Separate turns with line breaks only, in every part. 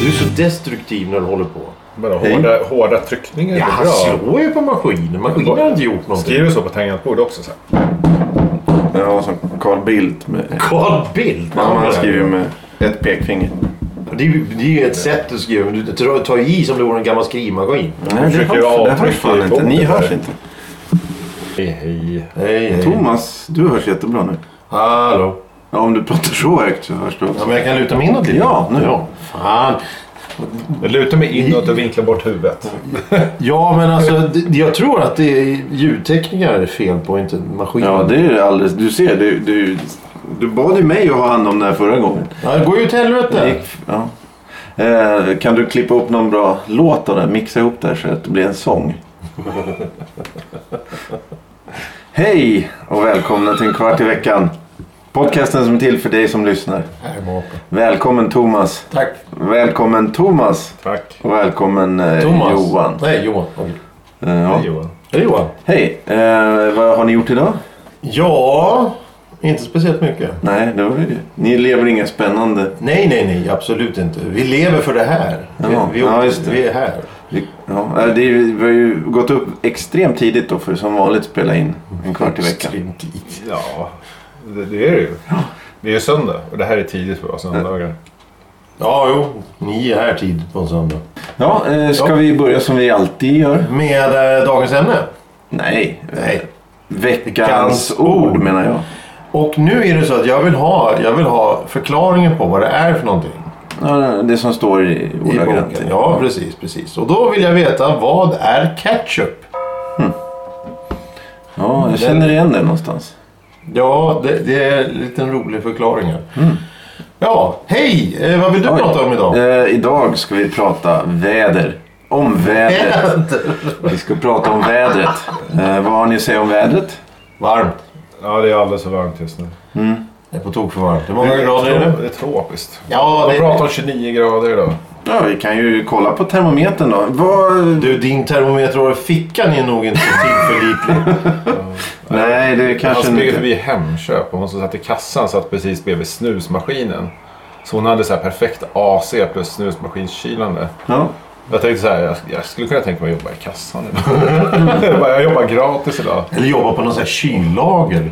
Du är så destruktiv när du håller på.
Vadå,
Hej.
hårda, hårda tryckningar
Ja,
är
han
bra.
slår ju på maskinen. Maskinen har inte gjort någonting.
Skriver du så på tangentbord också sen?
Ja, som Carl Bildt. Med,
Carl Bildt!
ja, men han skriver ju med ett pekfinger.
Det är ju det är ju ett sätt att skriva. men Du tar, tar i som om det vore en gammal skrivmaskin.
Nej, det
försöker
hörs, det
avtrycka
hörs fan
i
inte. Ni
bordet
hörs
där.
inte.
Hej, hej. Hej,
Eh.
hej.
Thomas, du hörs jättebra nu.
Hallå.
Ja, om du pratar så högt så hörs du
Ja,
också.
men jag kan luta mig inåt lite.
Ja, nu.
Ja, fan.
Jag lutar mig inåt och vinklar bort huvudet.
Ja, men alltså det- jag tror att det är ljudtekniker det är fel på, inte maskinen.
Ja, det är alldeles... Du ser, du, du, du bad ju mig att ha hand om det här förra gången.
Ja, det går ju till
Det
helvete.
gick, ja. eh, kan du klippa upp någon bra låt av det? Mixa ihop det här så att det blir en sång. Hej och välkomna till en kvart i veckan. Podcasten som är till för dig som lyssnar. Välkommen Thomas.
Tack.
Välkommen Thomas.
Tack.
Och välkommen eh,
Thomas.
Johan.
Nej, Johan. Okej.
Eh, ja.
Hej Johan.
Är det Johan?
Hej, eh, vad har ni gjort idag?
Ja, inte speciellt mycket.
Nej, det var ju... Ni lever inga spännande...
Nej, nej, nej. Absolut inte. Vi lever för det här. Vi,
Ja,
vi,
ja, just det.
vi är här.
Vi- Ja, eh, det är, ju- vi har ju gått upp extremt tidigt då för som vanligt spela in en kvart i veckan.
Extremt lite.
Ja, det, det är det ju. Det är ju söndag och det här är tidigt för oss söndagar.
Ja, jo. Ni är här tid på en söndag.
Ja, eh, ska
Ja.
vi börja som vi alltid gör?
Med eh, dagens ämne.
Nej.
Nej.
Veckans ord menar jag.
Och nu är det så att jag vill ha, jag vill ha förklaringen på vad det är för någonting.
Ja, Det som står i
I
ordagrant.
boken. Ja, precis, precis. Och då vill jag veta, vad är ketchup?
Ja, jag känner igen det någonstans.
Ja, det, det är en liten rolig förklaring här. Ja, hej! Eh, vad vill du
Mm. Oj.
prata om idag?
Eh, idag ska vi prata väder. Om vädret. Vi ska prata om vädret. Eh, vad har ni att säga om vädret?
Varmt.
Ja, det är alldeles för varmt just nu.
Det är på tok för varmt. Hur många grader är det?
Det är tropiskt.
Ja,
Vi
det
pratar om 29 grader idag.
Ja, vi kan ju kolla på termometern då. Vad...
Du, din termometer i fickan är nog inte tillförlitlig.
Nej, det
Han
kanske
smyger
inte...
förbi Hemköp och hon som satt i kassan satt precis bredvid snusmaskinen. Så hon hade så här perfekt AC plus snusmaskinskylande.
Ja.
Jag tänkte så här, jag, jag skulle kunna tänka mig att jobba i kassan idag. jag, bara, jag jobbar gratis idag.
Eller jobba på någon sån här kyllager.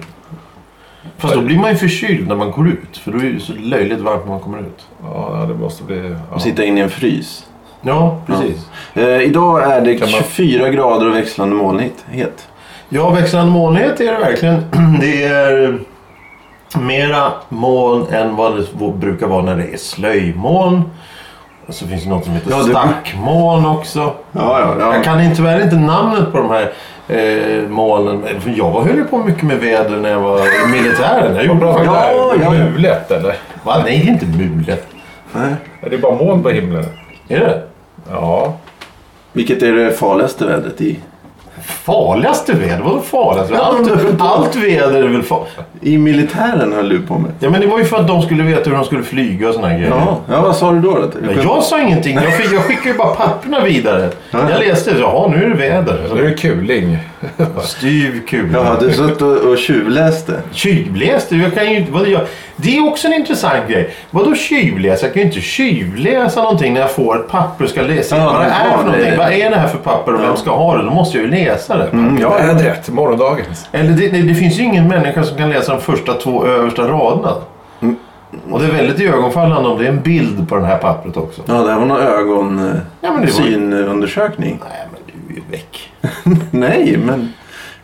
Fast då blir man ju förkyld när man går ut. För då är det ju så löjligt varmt när man kommer ut.
Ja, det måste bli... Ja.
Sitta in i en frys.
Ja, precis.
Eh, idag är det
Kan man-
24 grader och växlande molnighet.
Ja, växlande molnighet är det verkligen. Det är eh, mera moln än vad det brukar vara när det är slöjmoln. Och så finns det något som heter
Ja, det-
stackmoln också.
Ja, ja, ja.
Jag kan inte- tyvärr inte namnet på de här eh, molnen. För Jag var- höll ju på mycket med väder när jag var i militären. Jag gjorde bra
Ja,
där.
ja,
ja.
Mulet eller?
Va? Nej, det är inte mulet.
Nej.
Är det bara moln på himlen?
Är det?
Ja.
Vilket är det farligaste vädret i?
Farligaste väder? Vadå farligaste?
Ja, men
Allt, allt väder är väl farligt?
I militären höll du på med.
Ja, men det var ju för att de skulle veta hur de skulle flyga och såna här grejer.
Ja, ja vad sa du då? då?
Men jag sa ingenting. Jag, fick, jag skickade ju bara papperna vidare. Jag läste det. Jaha, nu är det
Nu
väder.
är det kuling.
Styv kula.
Jaha, du satt och, och tjuvläste.
Tjuvläste? Jag kan ju inte... Vad jag, det är också en intressant grej. Vadå tjuvläsa? Jag kan ju inte tjuvläsa någonting när jag får ett papper och ska läsa
Ja,
vad det
men
är för
vad är
någonting.
det?
Vad är det här för papper och vem ska ha det? Då måste jag ju läsa det.
Mm.
Ja,
Vädret, morgondagens.
Eller det, det, det finns ju ingen människa som kan läsa de första två översta raderna. Och det är väldigt iögonfallande om det är en bild på det här pappret också.
ja det här var någon ögon... eh,
Ja, men det var ju-
synundersökning.
Nej, men du är ju väck.
Nej, men...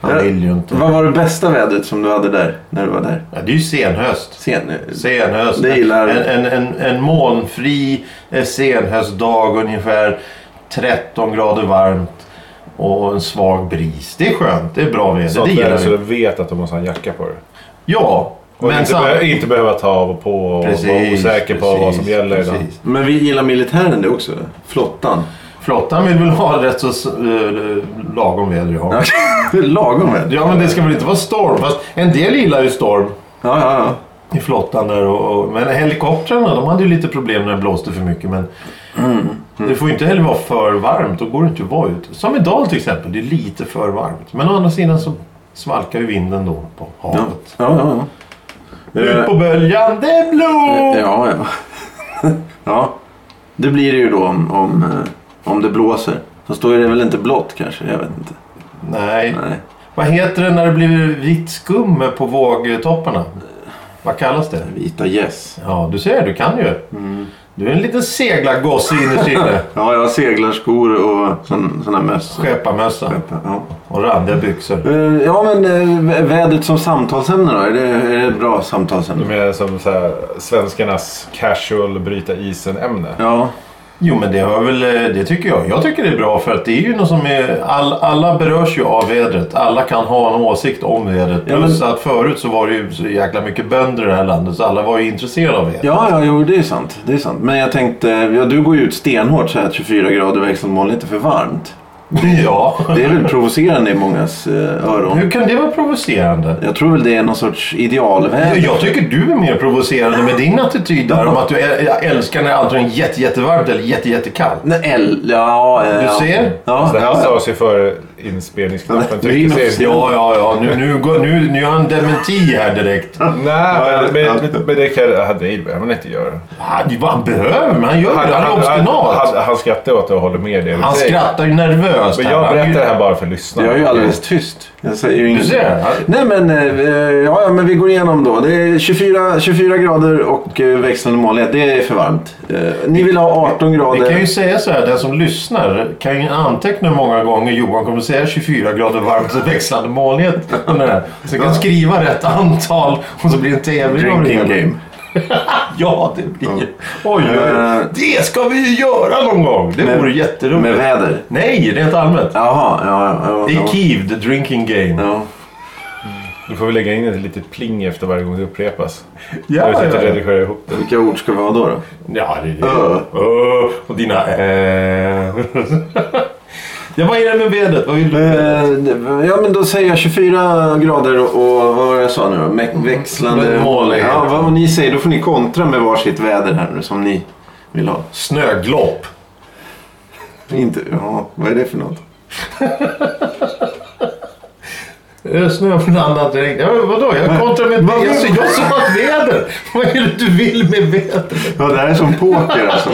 Han
Ja. Mm.
vill ju inte.
Vad var det bästa vädret som du hade där? När du var där?
Ja, det är ju senhöst.
Sen...
Senhöst.
Det gillar-
En, en, en, en molnfri eh, senhöstdag ungefär 13 grader varmt och en svag bris. Det är skönt. Det är bra väder.
Så
Det
att
gillar
du så du
vi.
vet att du måste ha en jacka på dig.
Ja,
Och
men
inte,
sam-
behö- inte behöva ta av och på och vara
Precis,
osäker på vad som
precis,
gäller idag.
precis.
Men vi gillar militären det också. Flottan.
Flottan vill väl ha rätt så eh, lagom väder. Ja.
Lagom väder.
ja, men det ska väl inte vara storm. Fast en del gillar ju storm.
Ja, ja, ja.
i flottan där. Och, och, men helikoptrarna de hade ju lite problem när det blåste för mycket. Men
Mm.
det får ju inte heller vara för varmt. Då går det inte att vara ute. Som idag till exempel. Det är lite för varmt. Men å andra sidan så svalkar ju vinden då på
Ja,
havet.
ja, ja. Eh, ja.
Ut på böljan, det är blå!
Ja, ja. ja. Det blir det ju då om, om, eh, om det blåser. Fast då är det väl inte blått kanske? Jag vet inte.
Nej.
Nej.
Vad heter det när det blir vitt skum på vågtopparna? Vad kallas det?
Vita gäss.
Ja, du ser, du kan ju.
Mm.
Du är en liten seglargosse innerst inne.
Ja, jag har seglarskor och sån, sån här mössa.
Skepparmössa
Ja.
och randiga byxor.
Eh, Ja, men eh, vädret som samtalsämne då? Är det, är det ett bra
De
samtalsämne?
är som så här, svenskarnas casual bryta isen-ämne.
Ja,
Jo, men det har väl, eh, det tycker jag. Jag tycker det är bra för att det är ju något som är... All, alla berörs ju av vädret. Alla kan ha en åsikt om vädret.
Ja, men-
Plus att förut så var det ju så jäkla mycket bönder i det här landet så alla var ju intresserade av vädret.
ja, ja jo, det är sant. Det är sant. Men jag tänkte, ja, du går ju ut stenhårt så här 24 grader växelmål, inte för varmt.
Ja.
Det är väl provocerande i mångas eh, öron.
Hur kan det vara provocerande?
Jag tror väl det är någon sorts
Ja,
idealväder.
Jag tycker du är mer provocerande med din attityd där om att du äl- älskar när det är antingen jätte, jättevarmt eller jätte, jättekallt.
Nej, el, ja, eh,
Du
ja.
ser?
Ja,
Så det här
ja,
sades ju före inspelningsknappen
Det är inom-
trycktes in.
Ja, ja, ja. Nu, nu, går- nu, nu har han dementi här direkt.
Nej, men,
ja.
men, men det kan han det behöver han inte göra.
Han, vad han behöver, men han gör det. Han är obstinat.
han, han skrattar åt det och håller med det du
Han
säger.
skrattar ju nervöst.
Men
här.
jag
Han är ju-
berättar det här bara för lyssnarna.
jag är ju alldeles tyst. Jag säger ju
Du
ingenting.
ser? Han-
Nej men, eh, ja, ja, men vi går igenom då. Det är 24, 24 grader och eh, växlande molnighet. Det är för varmt. Eh, Ni vill ha 18
Vi kan ju
grader.
säga så här, den som lyssnar kan ju anteckna hur många gånger Johan kommer säga 24 grader varmt och växlande molnighet. under det här. Så kan skriva rätt antal och så blir det en tävling av det
Drinking
hela.
game.
Ja, det blir Oj, oj, oj.
Eh.
Det ska vi ju göra någon gång. Det
Med-
vore jätteroligt.
Med väder.
Nej, rent allmänt.
Jaha, ja, ja.
Det
ja,
är
ja.
Kiev, the drinking game.
ja.
Du får väl lägga in ett litet pling efter varje gång det upprepas.
Ja,
jag vet inte
ja, ja.
redigera ihop det.
Vilka ord ska vi ha då? då?
Ja, det är det.
Ö.
Ö, och dina äh. ja, vad är det med vädret? Vad vill du?
Eh, Ja men då säger jag 24 grader och och vad var det jag sa nu då?
Mm.
Mä- Växlande
Men molnighet.
Ja, vad ni säger, då får ni kontra med varsitt väder här nu som ni vill ha.
Snöglopp.
Inte, ja, vad är det för något?
Ö, Snö från annat regn. Ja, men vadå? Jag kontrar med
Vad
jag
vill-
sa- Jag sa att väder. Vad är det du vill med vädret?
Ja, det här är som poker alltså.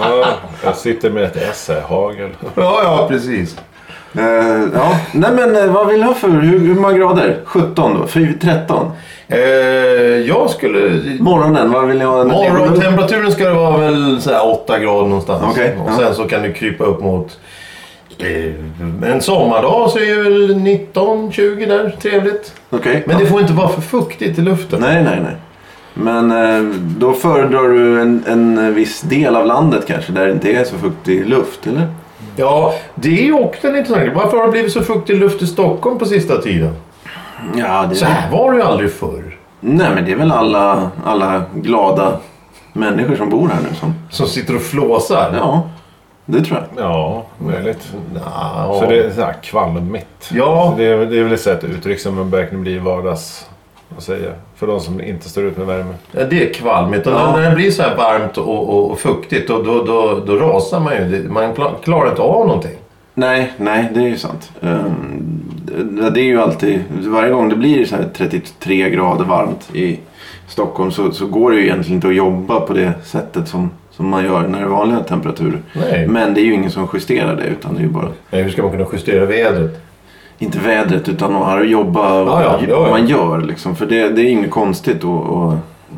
Ja, jag sitter med ett S här, hagel.
Ja, ja, precis.
Eh, ja. Nej men eh, vad vill du ha för, hur, hur många grader? 17 då? Fy- 13?
Eh, jag skulle...
Morgonen, vad vill ni ha?
Morgontemperaturen ska det vara väl så här 8 grader någonstans.
Okej,
Och
ja.
sen så kan du krypa upp mot... eh, En sommardag så är det väl 19-20 där. Trevligt.
Okej.
Men det får inte vara för fuktigt i luften.
Nej, nej, nej. Men eh, då föredrar du en, en viss del av landet kanske där det inte är så fuktig luft, eller?
Ja, det är ju också en intressant grej. Varför har det blivit så fuktig luft i Stockholm på sista tiden?
Ja, det
Så här var det ju aldrig förr.
Nej, men det är väl alla, alla glada människor som bor här nu som...
Som sitter och flåsar.
Ja, det tror jag.
Ja, möjligt.
Nja.
Så det är så här kvalmigt.
Ja.
Så Det, är, det är väl ett sätt, uttryck som verkligen blir vardags att säga. För de som inte står ut med värme.
Ja, det är kvalmigt. Och
Ja.
när det blir så här varmt och, och, och fuktigt då, då, då, då rasar man ju. Det- Man kla- klarar inte av någonting.
Nej, nej, det är ju sant. Ehm, det- det är ju alltid... Varje gång det blir så här 33 grader varmt i Stockholm så, så går det ju egentligen inte att jobba på det sättet som, som man gör när det är vanliga temperaturer.
Nej.
Men det är ju ingen som justerar det utan det är ju bara...
Nej, hur ska man kunna justera vädret?
Inte vädret utan att jobba
Ja, ja, ja,
vad
ja.
man gör liksom. För det, det är inget konstigt och... och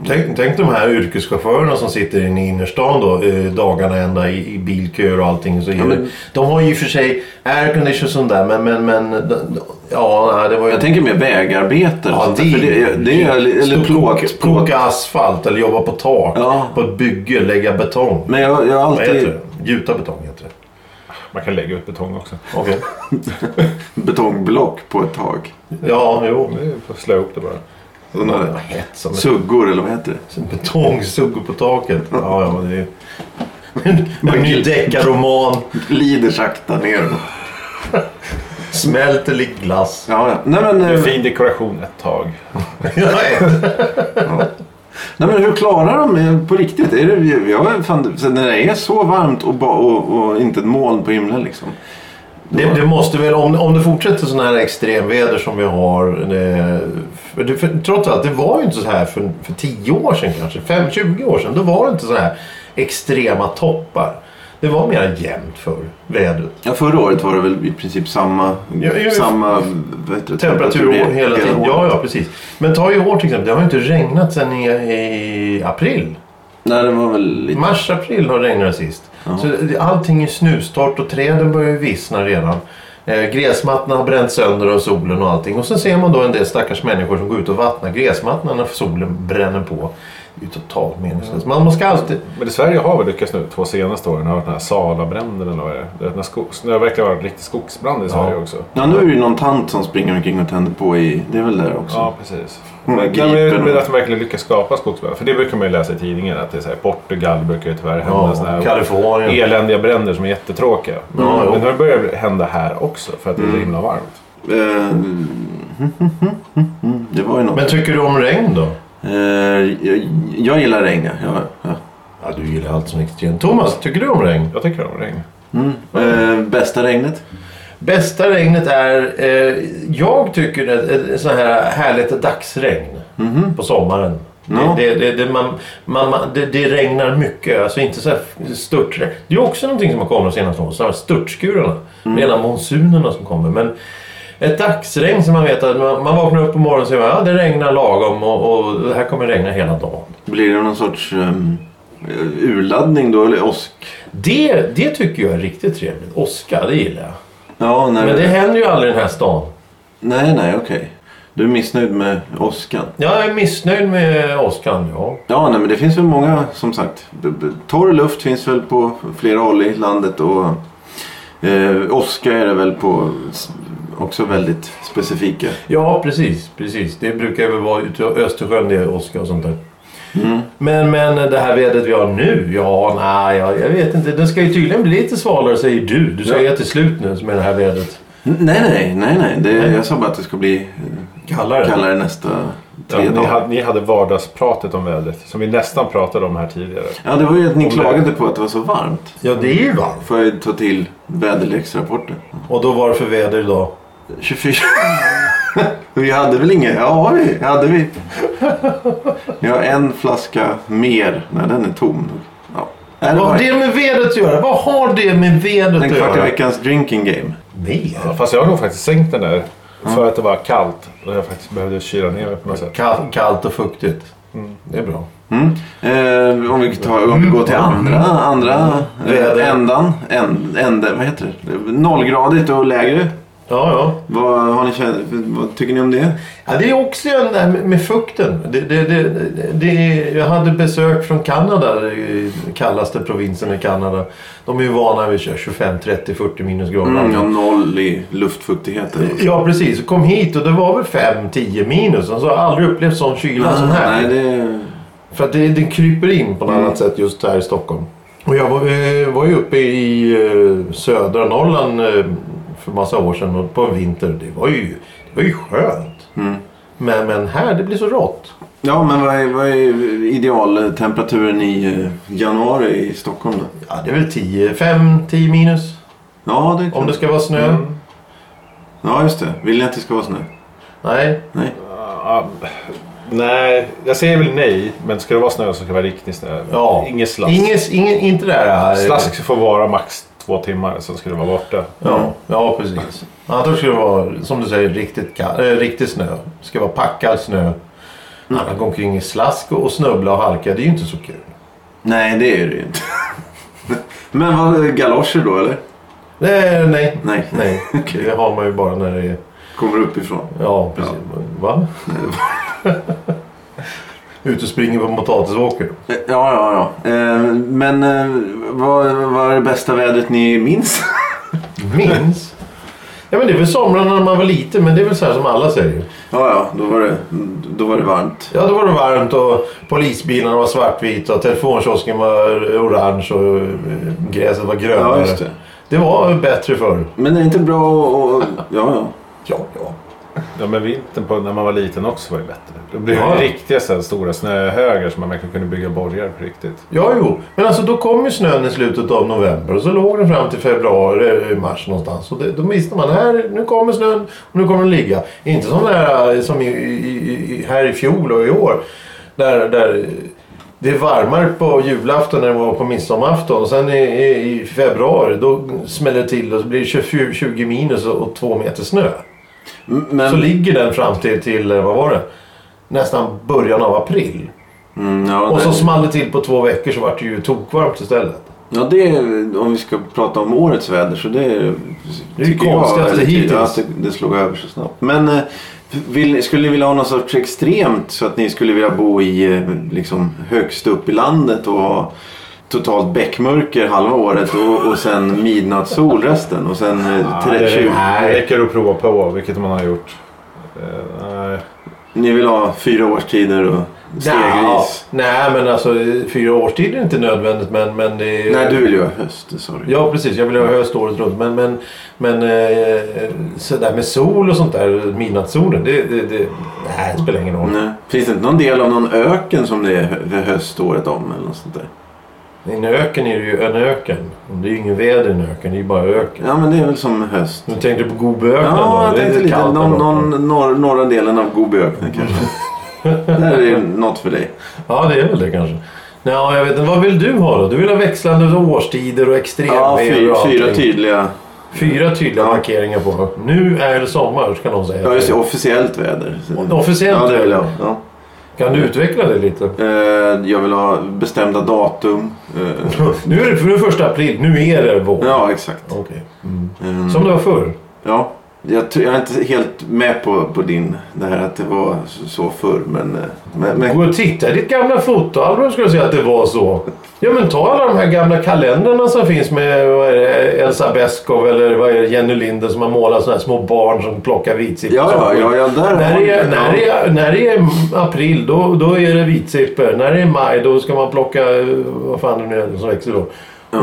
Tänk, tänk de här yrkeschaufförerna som sitter inne i innerstan då, eh, dagarna ända i, i bilköer och allting. Så är
men-
det, de har ju i och för sig aircondition och sånt där men, men, men de- de- ja, nej, det var ju...
Jag tänker mer vägarbete.
ja,
det, för det, är- det är, eller
Stå-
plåt. plåt.
Koka asfalt eller jobba på tak.
Ja.
På ett bygge, lägga betong.
Men jag, jag har
Vad heter
alltid
det? Gjuta betong heter det.
Man kan lägga ut betong också.
Okej.
betongblock på ett tag.
Ja, jo.
Nu får jag slå ihop det bara.
Sådana där
Hett som
Suggor eller vad heter det?
en betongsugg på taket. Ja, ja, det är... En ny deckarroman.
Glider sakta ner.
Smälter lik glass.
Ja, ja. Nej men...
Det är
eh,
fin dekoration ett tag.
Ja,
Ja. Nej, men hur klarar de eh, på riktigt? Är det, jag, fan, så när det är så varmt och, ba, och, och inte ett moln på himlen liksom.
Det, det måste väl, om, om det fortsätter sådana här extremväder som vi har. eh, För det, för, trots allt, det var ju inte så här för, för 10 år sedan kanske. 5-20 år sedan. Då var det inte så här extrema toppar. Det var mer jämnt för vädret.
Ja, förra året var det väl i princip samma,
Ja, ja, ja.
samma vad heter det,
Temperatur hela tiden.
året.
Ja, ja, precis. Men ta i år till exempel. Det har ju inte regnat sedan i, i april.
Nej, det var väl lite...
Mars, april har det regnat sist.
Ja.
Så det- allting är snustort och träden börjar ju vissna redan. Eh, gräsmattorna har bränt sönder av solen och allting. Och sen ser man då en del stackars människor som går ut och vattnar gräsmattorna när solen bränner på. Det är ju totalt meningslöst. Man måste alltid...
Men i Sverige har vi lyckats nu två senaste åren. Det har varit den här Salabränder eller vad det är. Det är när skog, det verkar vara en riktig skogsbrand i Sverige också.
Ja, nu är det ju någon tant som springer omkring och tänder på i... Det är väl där också.
Ja, precis.
Mm,
Men,
gripen
men, men
och-
att de verkligen lyckas skapa skogsbränder. För det brukar man ju läsa i tidningen. Att det är så här, Portugal brukar ju tyvärr hända
Ja,
såna här
Kalifornien.
eländiga bränder som är jättetråkiga.
Ja, jo.
men nu börjar det hända här också för att det är så himla varmt.
Eh, det var ju något.
Men tycker du om regn då?
Eh, jag, jag gillar regn, ja. ja, ja.
Ja, du gillar allt som är extremt. Thomas, tycker du om regn?
Jag tycker om regn.
Eh, bästa regnet?
Bästa regnet är... Eh, jag tycker att ett sånt här härligt dagsregn på sommaren.
Mhm. Ja.
Det, det, det, det, man, man, man, det, det regnar mycket, alltså inte så här störtregn. Det är också någonting som har kommit de senaste åren, så här störtskurarna.
Mm.
Rena monsunerna som kommer. Men ett dagsregn som man vet att man, man vaknar upp på morgonen och säger ja, det regnar lagom och, och det här kommer regna hela dagen.
Blir det någon sorts um, urladdning då? Eller åsk?
Det, det tycker jag är riktigt trevligt. Åska, det gillar jag.
Ja, nej,
Men det händer ju aldrig i den här stan.
nej, nej, okej. Du är missnöjd med åskan?
Jag är missnöjd med åskan, ja.
Ja, nej, men det finns väl många som sagt. B- b- Torr luft finns väl på flera håll i landet och eh, åska är det väl på s- också väldigt specifika.
Ja, precis. precis. Det brukar väl vara ute i Östersjön, det är åska och sånt där.
Mm.
Men, men det här vädret vi har nu, ja, nej, jag, jag vet inte. Den ska ju tydligen bli lite svalare säger du. Du säger att det är slut nu med det här vädret.
N- Nej, nej, nej, nej. Det, jag sa bara att det ska bli
Kallare.
eh, kallare nästa
Ja,
tre
ni,
dagar.
hade, ni hade vardagspratet om vädret som vi nästan pratade om här tidigare.
Ja, det var ju att ni
Om det-
klagade på att det var så varmt.
Ja, det är ju varmt.
Får jag ta till väderleksrapporten?
Och då var det för väder idag?
24. vi hade väl inget? Ja, vi hade vi. Jag har en flaska mer. Nej, den är tom. Ja. Nej, det
Vad
var
har det med vädret att göra? Vad har det med vädret
den
att
kvart i
göra?
veckans drinking game.
Mer?
Ja, Fast jag har nog faktiskt sänkt den där. För att det var kallt och jag faktiskt behövde kyla ner mig på något sätt.
Kall, kallt och fuktigt. Det är bra.
Mm. Eh, om, vi tar, om vi går till andra, andra
Mm. Väder.
eh, ändan. Änd, ände, vad heter det? Nollgradigt och lägre.
Ja, ja.
Vad, har ni, känt- vad tycker ni om det?
Ja, det är också en där med- med fukten. Det, det, det, det, jag hade besök från Kanada, i kallaste provinsen i Kanada. De är ju vana vid 25, 30, 40 minusgrader.
Mm, ja, noll i luftfuktighet.
Ja, precis. Kom hit och det var väl 5, 10 minus. Alltså, jag har aldrig upplevt sån kyla som här.
Nej, det... Mm.
För att det, det kryper in på något annat sätt just här i Stockholm. Och jag var, eh, var ju uppe i eh, södra Norrland eh, för massa år sedan och på en vinter. Det var ju, det var ju skönt.
Mm.
Men, men här, det blir så rått.
Ja, men vad är, vad är idealtemperaturen i eh, januari i Stockholm då?
Ja, det är väl 10, 5, 10 minus.
Ja, det
Om
kan...
det ska vara snö.
Mm.
ja just det. Vill ni att det ska vara snö?
Nej.
Nej.
Ja, Ah, nej, jag säger väl nej. Men ska det vara snö så ska det vara riktig snö.
Ja.
Ingen slask.
Inget, ingen, inte det här.
Slask får vara max två timmar, sen ska det vara borta.
Ja, ja precis. Annars ska det vara, som du säger, riktigt, ka- eh, riktigt snö. Det ska vara packad snö. Annars gå omkring i slask och och snubbla och halka. Det är ju inte så kul.
Nej, det är det ju inte. men vad, galoscher då eller?
Nej, Eh, nej.
Nej.
nej. Det har man ju bara när det är...
Kommer uppifrån.
Ja, precis. Va? Ut och springer på potatisåker.
Eh, Ja, ja, ja. Eh, Men eh, vad, vad är det bästa vädret ni minns?
Minns? Ja, men det är väl somrarna när man var liten, men det är väl så här som alla säger.
ja, ja. Då var det, då var det varmt.
Ja, då var det varmt och polisbilarna var svartvita och telefonkiosken var orange och eh, gräset var grönare.
Ja, just det.
det var bättre förr.
Men är det inte bra att... att- Ja, ja.
Ja, ja.
Ja men vintern på, när man var liten också var det bättre. Då blev det
Ja.
riktiga så här, stora snöhögar som man verkligen kunde bygga borgar på riktigt.
Ja, jo. Men alltså då kom ju snön i slutet av november och så låg den fram till februari, eh, mars någonstans. Och det, då visste man här, nu kommer snön och nu kommer den ligga. Inte som, där, eh, som i, i, i, här i fjol och i år. Där, där eh, det är varmare på julafton än det var på midsommarafton. Och sen i, i, i februari då smäller det till och så blir det 20, 20 minus och, och två meter snö.
M- Men,
Så ligger den fram till, till, eh, vad var det? Nästan början av april.
mm, ja,
Och så
nej.
small det till på två veckor så vart det ju tokvarmt istället.
Ja, det är, om vi ska prata om årets väder så det är...
Det är
tycker jag
konstigaste
väldigt-
hittills.
ja, Att det, det slog över så snabbt. Men eh, vill, skulle ni vilja ha någon sorts extremt så att ni skulle vilja bo i eh, liksom, högst upp i landet och ha totalt bäckmörker halva året och, och sen midnattssol resten och sen eh,
Ja, Ah, det,
30,
räcker- det räcker att prova på, vilket man har gjort. Eh, nej.
Ni vill ha fyra årstider och stegvis?
Nej, men alltså fyra årstider är inte nödvändigt. Men, men det är...
Nej, du vill ju ha höst, det sa du.
Ja, precis. Jag vill ha höst året runt. Men, men, men eh, sådär med sol och sånt där, midnattssolen, det, det, det, nej, det spelar ingen roll.
Nej. Finns det inte någon del av någon öken som det är hö- höst året om eller något sånt där?
I en öken är det ju en öken. Det är ju ingen väder i en öken, det är ju bara öken.
Ja, men det är väl som höst.
Nu tänkte du på Gobiöknen då?
Ja, jag
Det är
tänkte lite
kallt där
någon,
borta.
någon, norr, norra delen av Gobiöknen kanske.
Mm.
Där är något för dig.
Ja, det är väl det kanske. Ja, jag vet inte. Vad vill du ha då? Du vill ha växlande årstider och extremväder
Ja, fyra,
och allting.
fyra tydliga.
Fyra tydliga markeringar på. Nu är det sommar ska någon säga.
Ja, just det, officiellt väder.
Officiellt
ja, det vill jag.
väder.
Ja.
Kan du utveckla det lite?
Eh, Jag vill ha bestämda datum. Eh,
Nu är det för det är första april, nu är det vår.
Ja, exakt.
Okej.
Mm.
Som det var förr.
Ja, jag, tror- jag är inte helt med på, på din, det här att det var så- så förr. Men, eh, men, men
Gå och titta i ditt gamla fotoalbum skulle jag säga att det var så. Ja men ta alla de här gamla kalendrarna som finns med vad är det, Elsa Beskow eller vad är det, Jenny Linder som har målat såna här små barn som plockar vitsippor.
ja, ja, ja, ja, där
När
har
det, är,
du-
när, det är, när det är april då, då är det vitsippor. När det är maj då ska man plocka eh, vad fan det nu är som växer då.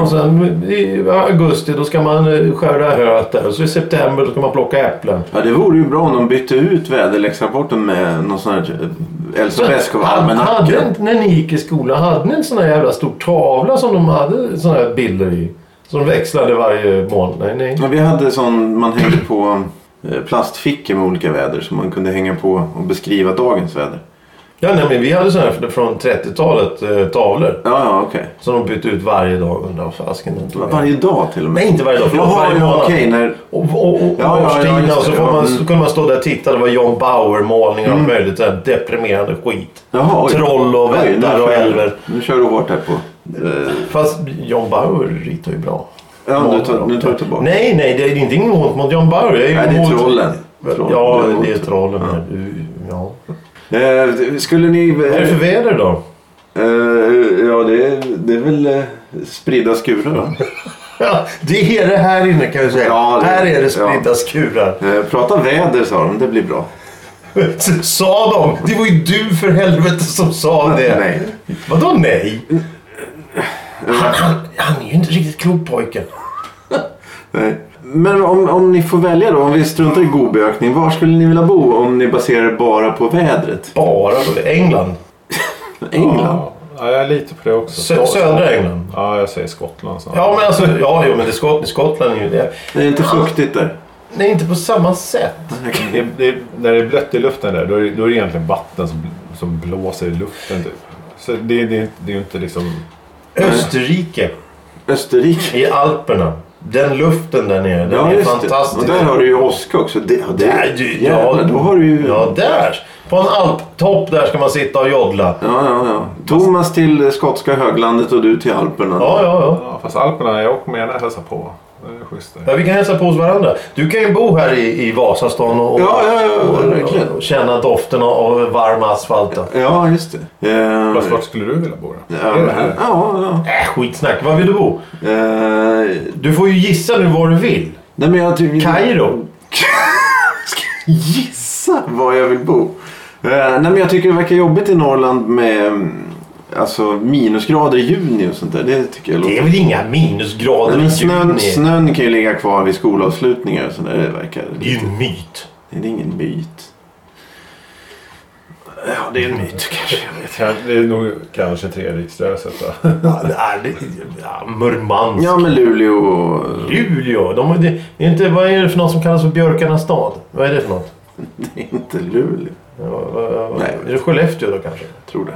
Och sen i augusti då ska man eh, skörda höet där. Och så i september då ska man plocka äpplen.
Ja, det vore ju bra om de bytte ut väderleksrapporten med någon sån här eh, Elsa
Hade- hade
Beskow-almanacka.
inte- När ni gick i skolan, hade ni en sån här jävla stor tavla som de hade såna här bilder i? Som växlade varje månad? Nej, nej.
Ja, vi hade sån man hängde på eh, plastfickor med olika väder som man kunde hänga på och beskriva dagens väder.
Ja, nej men vi hade såna här från 30-talet eh, tavlor.
Ja, ja, okej.
Som de bytte ut varje dag. Undrar vad fasken den tog vägen.
Varje dag till och med.
Nej, inte varje dag. Förlåt,
Jaha,
varje
ja,
månad.
okej. när...
Och, och, och
Ja, ja,
årstiderna
ja, just
och så,
det.
får
Ja,
man,
mm.
så kunde man stå där och titta. Det var John Bauer-målningar och möjligt. Så här deprimerande skit.
Jaha, oj.
Troll och
Oj, nu
vättar och
kör-
älver.
Nu kör du hårt här på... eh,
Fast John Bauer ritar ju bra.
Ja, nu tar, nu tar du tillbaka.
Nej, nej, det är inte inget ont mot John Bauer. Jag är ju
Nej, det är
emot-
trollen. Troll.
Ja,
emot.
det är trollen. men, Ja.
Eh, skulle ni...
Vad är det för väder då?
Eh, ja, det är, det är väl eh, spridda skurar va?
Ja, det är det här inne kan vi säga.
Ja, det-
här är det
ja.
spridda skurar.
Eh, prata väder sa de, det blir bra.
sa de? Det var ju du för helvete som sa det.
Nej. Mm.
Vadå nej? Han, han, han är ju inte riktigt klok pojken.
Nej. Men om, om ni får välja då, om vi struntar i Gobiökning, var skulle ni vilja bo om ni baserar er bara på vädret?
Bara på England.
England?
Ja, Ja, jag är lite på det också.
Sö- södra England.
Ja, jag säger Skottland snart.
Ja, men alltså, ja, jo, men det är Skott, Skottland är ju det.
Det är inte fuktigt där.
Nej, inte på samma sätt.
Det, det, när det är blött i luften där, då är, det- då är det egentligen vatten som, som blåser i luften typ. Så det, det, det är ju inte liksom...
Österrike
Österrike?
i Alperna. Den luften där nere, den är
just
fantastisk.
Det. Och där har du ju åska också. Det, ja, det,
Där, du,
jävlar, då har du ju...
Ja, där! På en alptopp där ska man sitta och joddla.
Ja, ja, ja. Thomas till eh, skotska höglandet och du till Alperna.
Ja, ja, ja.
Ja, fast Alperna, jag åker med gärna och hälsar på. Det är schysst där.
Ja, vi kan hälsa på hos varandra. Du kan ju bo här i, i Vasastan och,
Ja, ja, ja, verkligen.
och, och känna doften av- av varm asfalt. Äh,
Ja, just det. Eh,
Fast vart skulle du vilja bo då?
ja,
Är det
ja,
här?
ja.
Äh, skitsnack. Var vill du bo?
Eh,
Du får ju gissa nu var du vill.
nej, men jag typ tycker...
Kairo.
gissa var jag vill bo. Eh, nej men jag tycker det verkar jobbigt i Norrland med mm, alltså, minusgrader i juni och sånt där. Det tycker jag
Det är
låter...
väl inga minusgrader
Nej,
i
men snön,
juni?
snön kan ju ligga kvar vid skolavslutningar och sånt där. Det verkar...
Det är ju en myt.
Är det ingen myt? Ja, det är en
Mm.
myt kanske. Jag vet.
Det är nog kanske treriksröset då.
Ja, det är det, ja, Murmansk.
Ja, men Luleå och...
Luleå. De, det, det är inte, vad är det för något som kallas för björkarnas stad? Vad är det för något?
Det
Mm.
är inte Luleå.
Ja, vad- vad-
Nej.
Är det Skellefteå då kanske?
Jag tror det.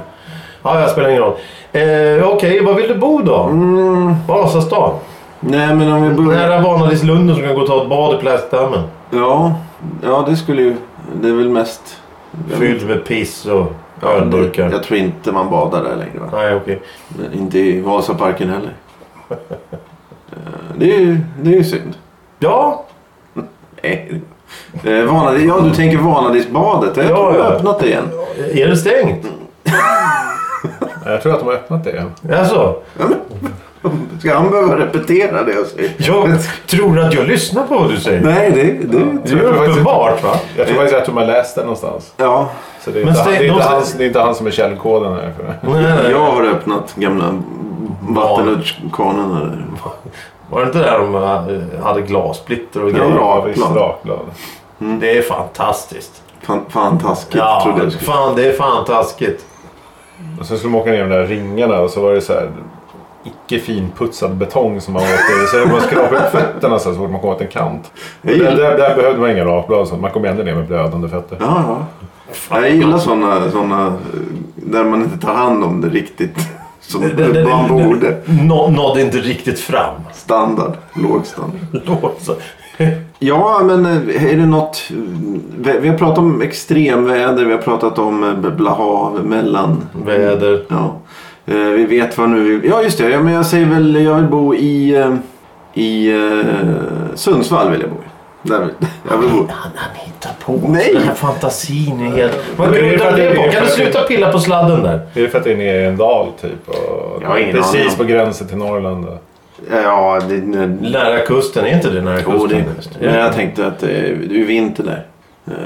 Ja, jag spelar ingen roll. Eh, Okej, var vill du bo då?
Mm,
Vasastan.
nej, men om vi börjar...
Mm, Nära Vanadislunden så kan du gå och ta ett bad i plastdammen.
Ja, ja, det skulle ju... Det är väl mest... jag vet-
Fylld med piss och
Mm. Ja, det-
ölburkar.
Jag tror inte man badar där längre. Va?
Nej, okej.
Men Inte i Vasaparken heller. Eh, Det är ju, det är ju synd.
Ja,
Nej. Eh, Vanadis, ja, du tänker Vanadisbadet. Jag
Ja,
tror jag har
ja.
öppnat det igen.
är det stängt?
Jag tror att de har öppnat det igen.
Mm.
Alltså,
Ska han behöva repetera det jag säger?
jag tror att jag lyssnar på vad du säger.
Nej, det, det
Det är uppenbart va?
Jag tror faktiskt att de har läst det någonstans.
Ja,
Så det är,
Men
inte, han-
stäng-
det är,
de
inte,
stäng-
han, det är inte han som är källkoden här. För det.
Nej, nej.
jag har öppnat gamla vattenrutschkanorna där.
Var det inte där de eh, hade glassplitter och grejer?
Ja,
visst,
plan.
rakblad.
Det är fantastiskt.
Fan, fan taskigt
Ja,
trodde jag. skulle-
fan, det är fantastiskt.
Och sen skulle de åka ner de där ringarna och så var det så här icke finputsad betong som man åkte i. Så det var skrapade upp fötterna så här så fort man kom åt en kant.
Jag
Där,
gillar,
där, där behövde man inga rakblad. Så man kom ändå ner med blödande fötter.
ja, ja. jag gillar sådana såna, eh, där man inte tar hand om det riktigt. Som man borde.
Nå- Nådde inte riktigt fram.
Standard, låg standard.
Låsa.
Ja, men eh, är det något... Vi vi har pratat om extremväder, vi har pratat om eh, blå hav, mellan...
Väder.
Ja. Eh, Vi vet vad nu... Ja, just det. Ja, men jag säger väl, jag vill bo i... eh, I eh, Sundsvall vill jag bo i. Där vill, jag vill bo.
Han, han hittar på.
Nej!
Den här fantasin är helt... Vad
Men det är för
grundar
att det-
det
det är
på?
för
Kan du
att det-
sluta pilla på sladden där?
Är det för att det är nere i en dal typ? Och
Jag har ingen aning
precis
om.
på gränsen till Norrland. då?
Ja, det... ne-
Nära kusten, är inte det nära kusten?
Jo, det... Men
Ja.
jag tänkte att eh, det är ju vinter där.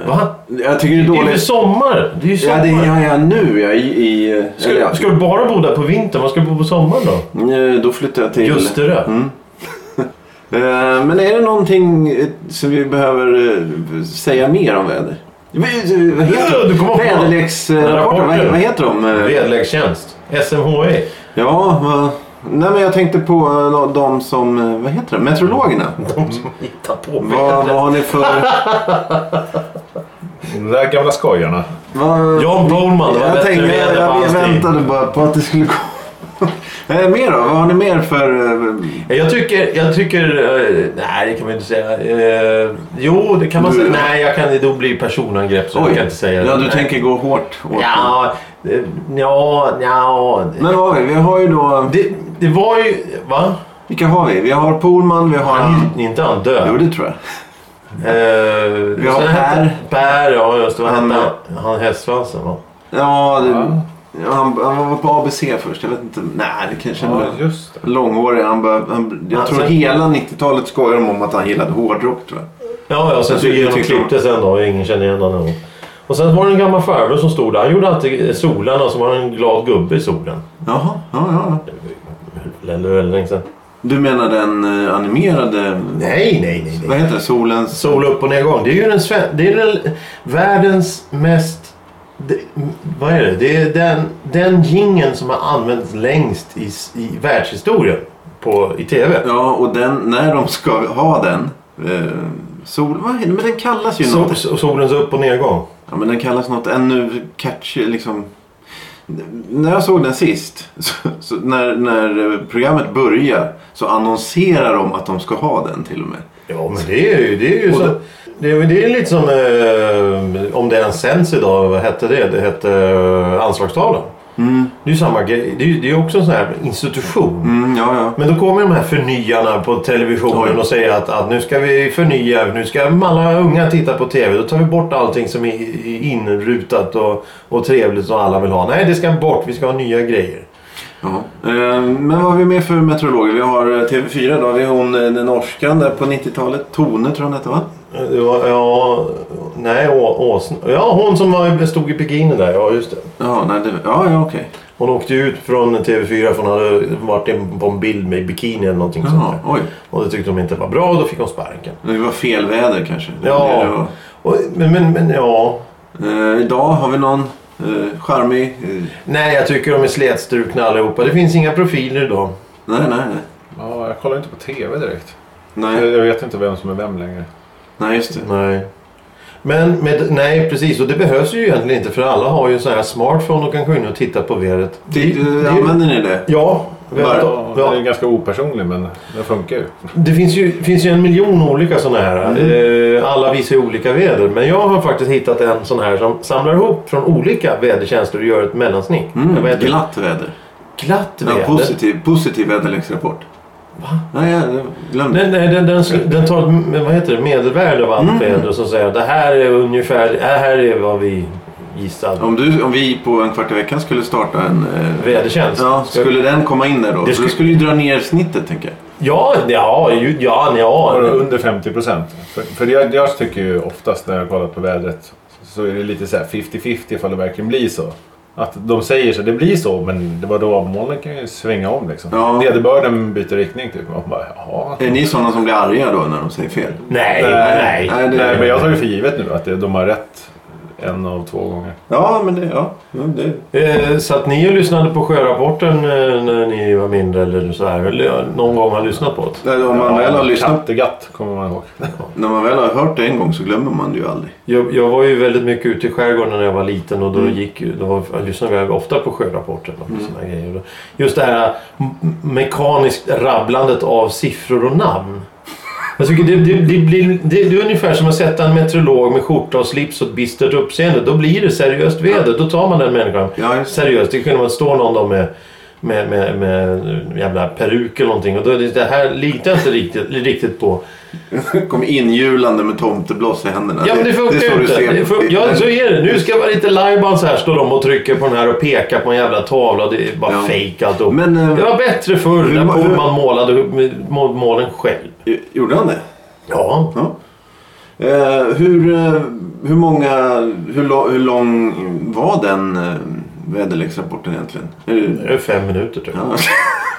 Va?
Jag tycker det är
Det är ju
dåligt...
sommar! Det är ju
Ja,
sommar.
det är jag nu. Jag är i... i eh, eller
Ska,
ja.
ska du bara bo där på vintern? Vad ska du bo på sommaren då?
Eh, Då flyttar jag till...
Just det. där.
Eh, Men är det någonting eh, som vi behöver eh, säga mer om väder? Vi- eh, Vad
Ja,
heter
du
de?
kommer på-
Väderleksrapporter, vad,
Rapporter.
vad heter de? Eh,
Väderlekstjänst. SMHI.
Ja, vad... Nej men jag tänkte på eh, de som, eh, vad heter det, meteorologerna.
De som hittar på
Vad, vad
vädret.
har ni för...
De där gamla skojarna.
Vad...
John Bollman. det var
Jag
bättre
tänkte,
väder
jag,
på
jag
hans tid.
väntade bara på att det skulle gå. Eh, mer då? Vad har ni mer för... eh,
Jag tycker, jag tycker... eh, Nej, det kan man inte säga. Eh, Jo, det kan man
Du-
säga. Nej, jag kan, då blir det personangrepp så jag kan inte säga
ja
det.
du
Nej.
tänker gå hårt åt dem.
Ja, eh, ja, ja.
Men vad har vi? Vi har ju då...
Det, det var ju... Va?
Vilka har vi? Vi har Polman, vi har...
Han, Inte han
Jo,
död. Eh,
det tror jag.
Vi
har Per.
Per, ja just det. Vad
Han-
hette han? Han hästsvansen va?
Ja, det, ja, han, han var på ABC först. Jag vet inte. Nej, det kanske
Ja,
var
just det.
långårig. Han bör, han, jag
Ja,
tror
sen-
hela 90-talet skojar de om att han gillade hårdrock. Tror jag.
Ja, ja sen
Jag
så
tycker-
gick de
tycker-
klippte sen då och ingen kände igen honom. Och sen var det en gammal farbror som stod där. Han gjorde alltid solen och så var han en glad gubbe i solen.
Jaha, ja, ja. ja.
Eller liksom. väldigt länge sedan.
Du menar den eh, animerade...
Nej, nej, nej.
Vad heter det? Solens...
Sol upp och nedgång. Det är ju den, sven- det är den världens mest... Det, vad är det? Det är den, den jingeln som har använts längst i, s- i världshistorien på, i TV.
Ja, och den, när de ska ha den... Eh, sol... Vad, heter- men den kallas ju
Sol,
något.
so- solens upp och nedgång.
Ja, men den kallas något ännu catchy liksom. N- När jag såg den sist, så, så när, när eh, programmet börjar så annonserar de att de ska ha den till och med.
Ja, men det är ju, det är ju
Och
så...
det-
Det är, det är lite som, eh, om det ens sänds idag, vad hette det? Det hette eh, Anslagstavlan. Det är ju samma grej. Det är ju det är ju också en sån här institution.
Mm, ja, ja.
Men då kommer de här förnyarna på televisionen
Oj.
och säger att, att nu ska vi förnya, nu ska alla unga titta på TV. Då tar vi bort allting som är inrutat och, och trevligt som alla vill ha. Nej, det ska bort. Vi ska ha nya grejer.
Ja. Eh, Men vad har vi med för meteorologer? Vi har eh, TV4 då. Vi har hon eh, den norskan där på 90-talet. Tone tror jag hon hette va?
Det var, ja, nej, Å- Åsn... Ja, hon som var, stod i bikini där. Ja, just det.
Ja, nej, det, ja, ja okej.
Hon åkte ju ut från TV4 för hon hade varit in på en bild med bikini eller någonting sånt
Jaha,
där.
oj.
Och det tyckte de inte var bra och då fick hon sparken.
Det var fel väder kanske.
Ja.
Det var-
Och, men, men, men ja.
Eh, idag har vi någon eh, charmig... Eh,
Nej, jag tycker de är slätstrukna allihopa. Det finns inga profiler idag.
nej, nej, nej.
Ja, jag kollar inte på TV direkt. Jag,
Nej,
jag vet inte vem som är vem längre.
nej just det.
Nej. Men med, nej, precis. Och det behövs ju egentligen inte för alla har ju en sån här smartphone och kan gå in och titta på vädret.
Ty-
Det- det-
Använder ni det?
Ja. vi har-
Ja, Den
ja.
är ju ganska opersonlig men den funkar ju.
Det finns ju, finns ju en miljon olika sådana här.
Mm.
Eh, Alla visar ju olika väder. Men jag har faktiskt hittat en sån här som samlar ihop från olika vädertjänster och gör ett mellansnitt.
Mm,
Vad heter det?
glatt väder.
glatt väder.
Ja, positiv, positiv väderleksrapport. Va? Nej, jag glömde.
Nej, nej, den, den, sl- den tar ett m- vad heter det, medelvärde av allt
Mm.
väder och så säger jag, det här är ungefär det här är vad vi gissade.
Om, du, om vi på en kvart i veckan skulle starta en... Eh,
Vädertjänst.
ja,
Ska-
skulle den komma in där då?
Det
Skulle...
skulle-
Du skulle ju dra ner snittet tänker jag.
Ja, ja, ju- ja, ja.
Bara under 50 procent. För, för jag, jag tycker ju oftast när jag har kollat på vädret så är det lite så här 50-50 ifall det verkligen blir så. Att de säger så, det blir så men det var då molnen kan ju svänga om liksom.
Ja.
Nederbörden byter riktning typ. Man bara, jaha.
Är ni sådana som blir arga då när de säger fel?
Nej,
Nej,
nej.
nej, det-
Nej men jag tar ju för givet nu att det, de har rätt en av två gånger.
Ja, men det... Ja, ja, det...
Eh, satt ni och lyssnade på sjörapporten eh, när ni var mindre eller så här? Eller eh, någon gång har lyssnat på det?
Nej, om man väl har lyssnat,
Kattegatt kommer man ihåg.
när man väl har hört det en gång så glömmer man det ju aldrig.
Jag, jag var ju väldigt mycket ute i skärgården när jag var liten och då, gick, ju- då var, jag lyssnade jag ofta på sjörapporten och såna grejer. Just det här m- mekaniskt rabblandet av siffror och namn. Jag tycker det, det, det, blir, det, det är ungefär som att sätta en meteorolog med skjorta och slips och ett bistert uppseende. Då blir det seriöst väder. Då tar man den människan
Ja, just det.
seriöst. Det kunde man stå någon då med, med, med, med jävla peruk eller någonting. Och då, är det det här litar jag inte riktigt, riktigt på.
Kom inhjulande med tomtebloss i händerna.
Ja, men det funkar ju
är så
inte.
du ser.
Det fun- ja, så är det. Nu ska det vara lite lajbans här, står de och trycker på den här och pekar på en jävla tavla. Det är bara
Ja.
fejk alltihop.
Men, eh,
Det var bättre förr
hur
när
ma- hur-
man målade hu- må- målen själv.
Gjorde han det?
Ja.
Ja. Eh, hur, eh, hur många, hur, lo- hur lång var den eh, väderleksrapporten egentligen? Hur,
Det är fem minuter typ.
ja.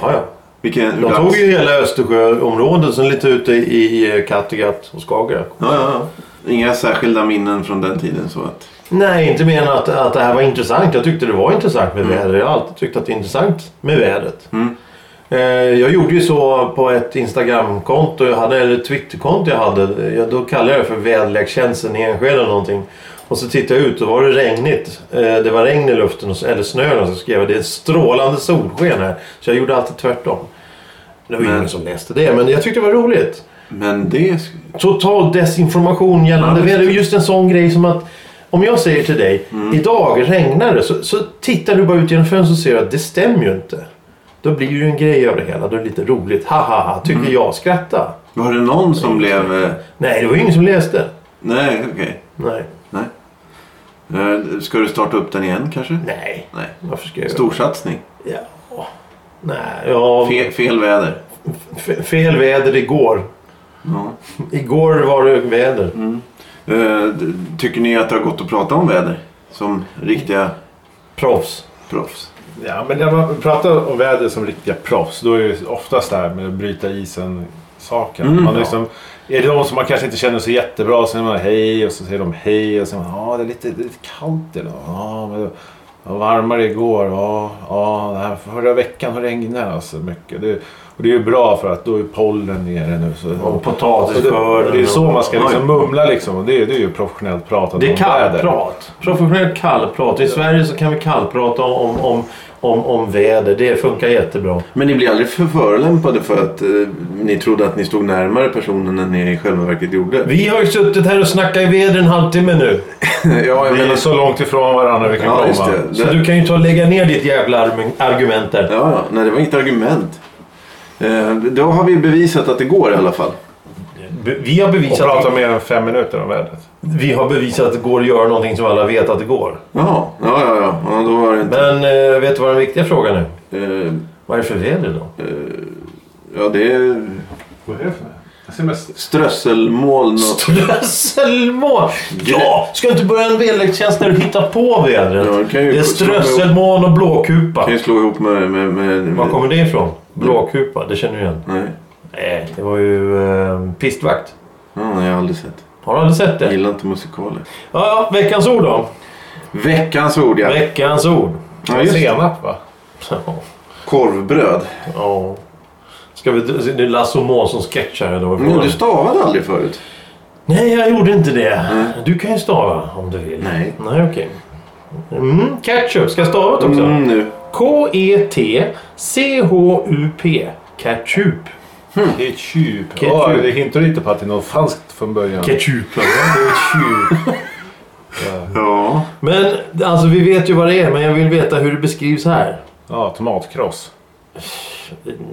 Ja, ja.
Vilken,
De
hur dags-
tog ju hela Östersjöområdet, sen lite ute i eh, Kattegatt och Skagerrak.
ja, ja, ja. Inga särskilda minnen från den tiden så att...
Nej, inte mer än att, att det här var intressant. Jag tyckte det var intressant med vädret. Jag har alltid tyckt att det är intressant med vädret. Eh, Jag gjorde ju så på ett Instagramkonto, jag hade, eller ett Twitterkonto jag hade. Jag, då kallade jag det för väderlekstjänsten i Enskede eller någonting. Och så tittade jag ut och då var det regnigt. Eh, Det var regn i luften, och s- eller snö. Och så skrev jag det är strålande solsken här. Så jag gjorde alltid tvärtom. Det var ju
Men-
ingen som läste det, men jag tyckte det var roligt
Men det... sk-
total desinformation gällande
Ja, visst.
väder. Just en sån grej som att om jag säger till dig
Mm.
idag regnar det så, så tittar du bara ut genom fönstret och ser att det stämmer ju inte. Då blir ju en grej av det hela. Då är det lite roligt. Ha ha ha, tycker
Mm.
jag. Skratta.
Var det någon som blev... eh,
Nej, det var ju ingen som läste.
Nej, okej.
Nej.
Nej. Eh, Ska du starta upp den igen kanske?
Nej.
Nej.
Varför ska jag...
Storsatsning.
Ja. Nej, ja.
Fe, fel väder.
Fe- fel väder igår.
Ja.
Igår var det väder.
Mm. Eh, d- Tycker ni att det har gått att prata om väder? Som riktiga
Proffs.
proffs?
Ja, men när man pratar om väder som riktiga proffs, då är det oftast det här med att bryta isen-saken.
Mm,
man
ja.
liksom, Är det någon som man kanske inte känner så jättebra, så säger man hej och så säger de hej och så säger man ja, det är lite, det är lite kallt idag. Ja, men det var varmare igår. Ja, ja, det här förra veckan har regnat alltså mycket. Det, och det är ju bra för att då är pollen nere nu. Så,
Och
och det,
potatisskörden.
det är så man ska liksom
Oj.
mumla liksom. Och det, är- det är ju professionellt pratande
Det är
om väder.
kallprat. Professionellt kallprat. I Sverige så kan vi kallprata om, om, om, om väder. Det funkar jättebra.
Men ni blir aldrig för förolämpade för att eh, ni trodde att ni stod närmare personen än ni i själva verket gjorde?
Vi har ju suttit här och snackat i väder en halvtimme nu.
ja, jag
Vi är
menar...
så långt ifrån varandra vi kan
Ja, just
komma.
det.
Så du kan ju ta och lägga ner ditt jävla arm- argument där.
Ja, ja. Nej, det var inget argument. Eh, Då har vi bevisat att det går i alla fall.
Be- Vi har,
Och
bevisat
prata
att,
mer än fem minuter om vädret.
vi har bevisat att det går att göra någonting som alla vet att det går.
Jaha. Ja, ja, ja. ja då var det inte...
Men eh, vet du vad den viktiga frågan är?
Eh,
Vad är det för väder då?
Ja, det är
Vad är det för något?
strösselmoln och...
Strösselmoln! Ja! Ska du inte börja en väderlekstjänst när du hittar på vädret?
Ja, det kan ju-
det är strösselmoln och blåkupa.
kan ju slå ihop med... med, med, med...
Var kommer det ifrån? Blåkupa, det känner du igen.
Nej.
Nej, det var ju eh, pistvakt.
Ja, nej, jag har aldrig sett.
Har du aldrig sett
Jag
det? Ja,
gillar inte musikaler.
ja, veckans ord då.
Veckans ord ja.
Veckans ord.
ja just. det.
Senap va?
Ja.
Korvbröd.
ja. Ska vi, det är Lasse och Månssons sketch här. Då.
Men Mm, du stavade aldrig förut.
Nej, jag gjorde inte det. Du kan ju stava om du vill.
Nej.
Mm. Nej, okej. Mm, ketchup. Ska jag stava det också? E
Mm, nu.
K-E-T-C-H-U-P. Ketchup.
Ketchup.
Ketchup.
Ja, det hintar lite på att det är något franskt från början.
Ketchup.
Ketchup.
Ja.
Men alltså, vi vet ju vad det är, men jag vill veta hur det beskrivs här.
Ja, tomatkross.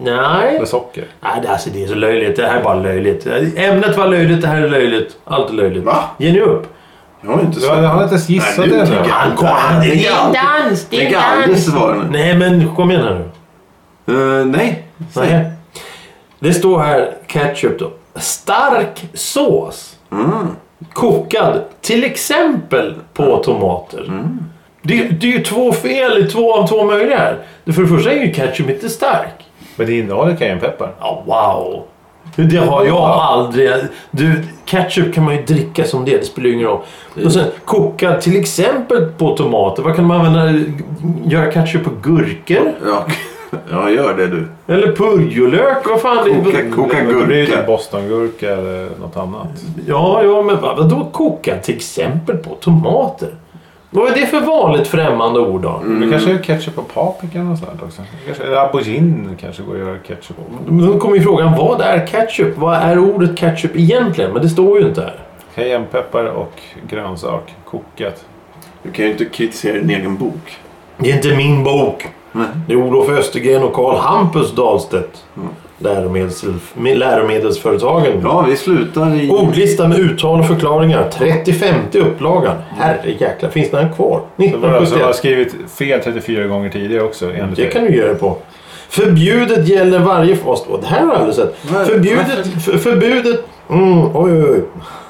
Nej.
Med socker.
Nej, det- alltså det är så löjligt. Det här är bara löjligt. Ämnet var löjligt, det här är löjligt. Allt är löjligt.
Va?
Ge nu upp.
Jag har inte
Du har-
sett.
han har inte ens gissat
Nej,
det
nu
ännu.
tänker jag.
Han kom-
Nej,
det är
tänker jag aldrig-
dans, det är
tänker jag aldrig
dans.
svara nu.
Nej, men kom igen här nu.
Eh, nej. Säg.
Nej. Det står här ketchup då. Stark sås. Kokad till exempel på tomater. Det, det är ju två fel i två av två möjliga här. Det- För det första är ju ketchup inte stark.
Men det innehåller cayennepeppar.
Ja, wow. Det har jag aldrig... Du, ketchup kan man ju dricka som det. Det spelar ju ingen roll. Och sen kokad till exempel på tomater. Vad kan man använda? Göra ketchup på gurkor?
Ja. ja, gör det du.
Eller purjolök? Vad fan? det-
Koka, koka
Det blir ju typ
gurka.
bostongurka eller något annat.
Ja, ja, men vad, vadå koka till exempel på tomater? Vad är det för vanligt främmande ord då?
Det kanske är ketchup på paprika eller något sånt också. Det Kanske, eller aubergine kanske går att göra ketchup på.
Då kommer ju frågan, vad är ketchup? Vad är ordet ketchup egentligen? Men det står ju inte här.
Cayennepeppar och grönsak. Kokat.
Du kan ju inte kritisera din egen bok.
Det är inte min bok.
Nej.
Det är Olof Östergren och Carl Hampus Dahlstedt. Läromedels, med läromedelsföretagen.
Ja, vi slutar i...
Oh,
Ordlista med uttal och förklaringar. 30-50 upplagan. Herrejäklar, finns den kvar?
Det var alltså, jag har
1971.
skrivit fel 34 gånger tidigare också. Enligt
Det
dig.
kan du göra på. Förbjudet gäller varje fas... Åh, det här har jag aldrig sett.
Nej,
Förbjudet... För, förbudet... Mm, oj, oj, oj.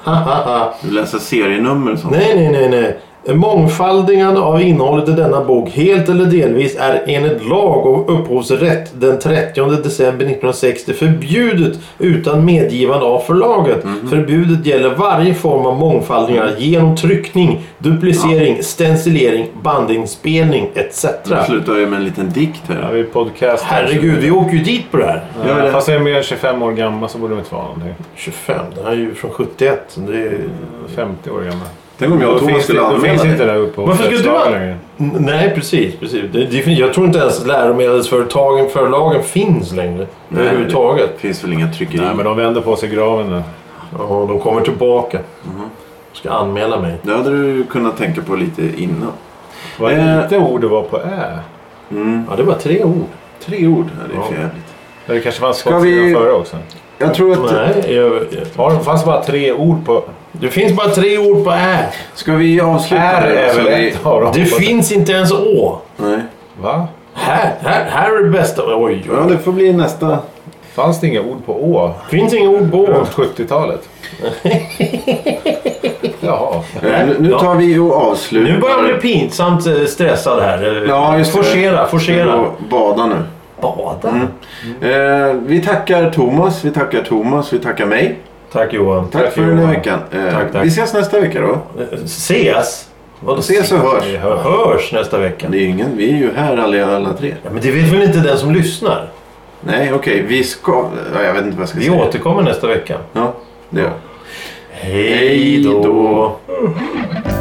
Hahaha.
Du läser serienummer och sånt.
nej, nej, nej, nej. Mångfaldigande av innehållet i denna bok helt eller delvis är enligt lag och upphovsrätt den 30 december 1960 förbjudet utan medgivande av förlaget. Förbjudet gäller varje form av mångfaldningar genom tryckning, duplicering, stencilering, bandinspelning etc.
Vi slutar ju med en liten dikt
Ja,
här.
vi podcastar.
Herregud, vi åker ju dit på det här.
Ja,
Gör det.
Fast jag är mer än 25 år gammal så borde det inte vara någonting.
25, den här är ju från 71. så Det är...
50 år gammal.
Tänk om jag och
Då
Thomas
finns, det,
skulle
då finns
anmäla
inte
dig.
det där uppe
Varför ska du
Fredstaden
ha-
längre.
N- Nej, precis. precis. Det, det, fin- jag tror inte ens läromedelsföretagen, förlagen finns längre.
Nej.
Överhuvudtaget.
Det finns väl inga tryckerier?
Nej, men de vänder på sig i graven nu.
Ja, de kommer tillbaka.
Mhm.
Ska anmäla mig.
Det hade du kunnat tänka på lite innan.
Vad
Eh.
lite ord det var på ä.
Mm.
Ja, det var tre ord.
Tre ord. Ja, det är
Ja.
för jävligt.
Det kanske fanns
Ska
folk
vi-
vi... före också.
Jag tror att...
Nej, jag,
Ja, det fanns bara tre ord på...
det finns bara tre ord på ä.
Ska vi avsluta?
Är
det?
är
Så
väl
vi-
ett av dem.
Det finns inte ens å.
Nej.
Va?
Här, här, här är det bästa. Oj,
Ja,
oj.
det får bli nästa.
Fanns det inga ord på å?
Finns inga ord på å.
Runt 70-talet? Jaha.
Eh, nu- Nu
Ja.
tar vi och avslutar.
Nu börjar jag bli pinsamt eh, stressad här. Eh,
Ja, just det. Mm.
forcera,
Ska gå
forcera.
och Bada nu.
Bada.
Eh, vi tackar Thomas, vi tackar Thomas, vi tackar mig.
Tack Johan.
Tack
Tack,
för den här
Johan.
veckan. Eh,
Tack, tack.
Vi ses nästa vecka då.
Ses? Vadå
Ses och hörs.
Vi hör- hörs nästa vecka.
Det är ju ingen, vi är ju här alla, alla tre.
Ja, men det vet väl inte den som lyssnar?
Nej, okej, vi ska... ja, Jag vet inte vad jag ska
Vi
säga.
återkommer nästa vecka.
Ja, det gör vi.
Hej då!
då.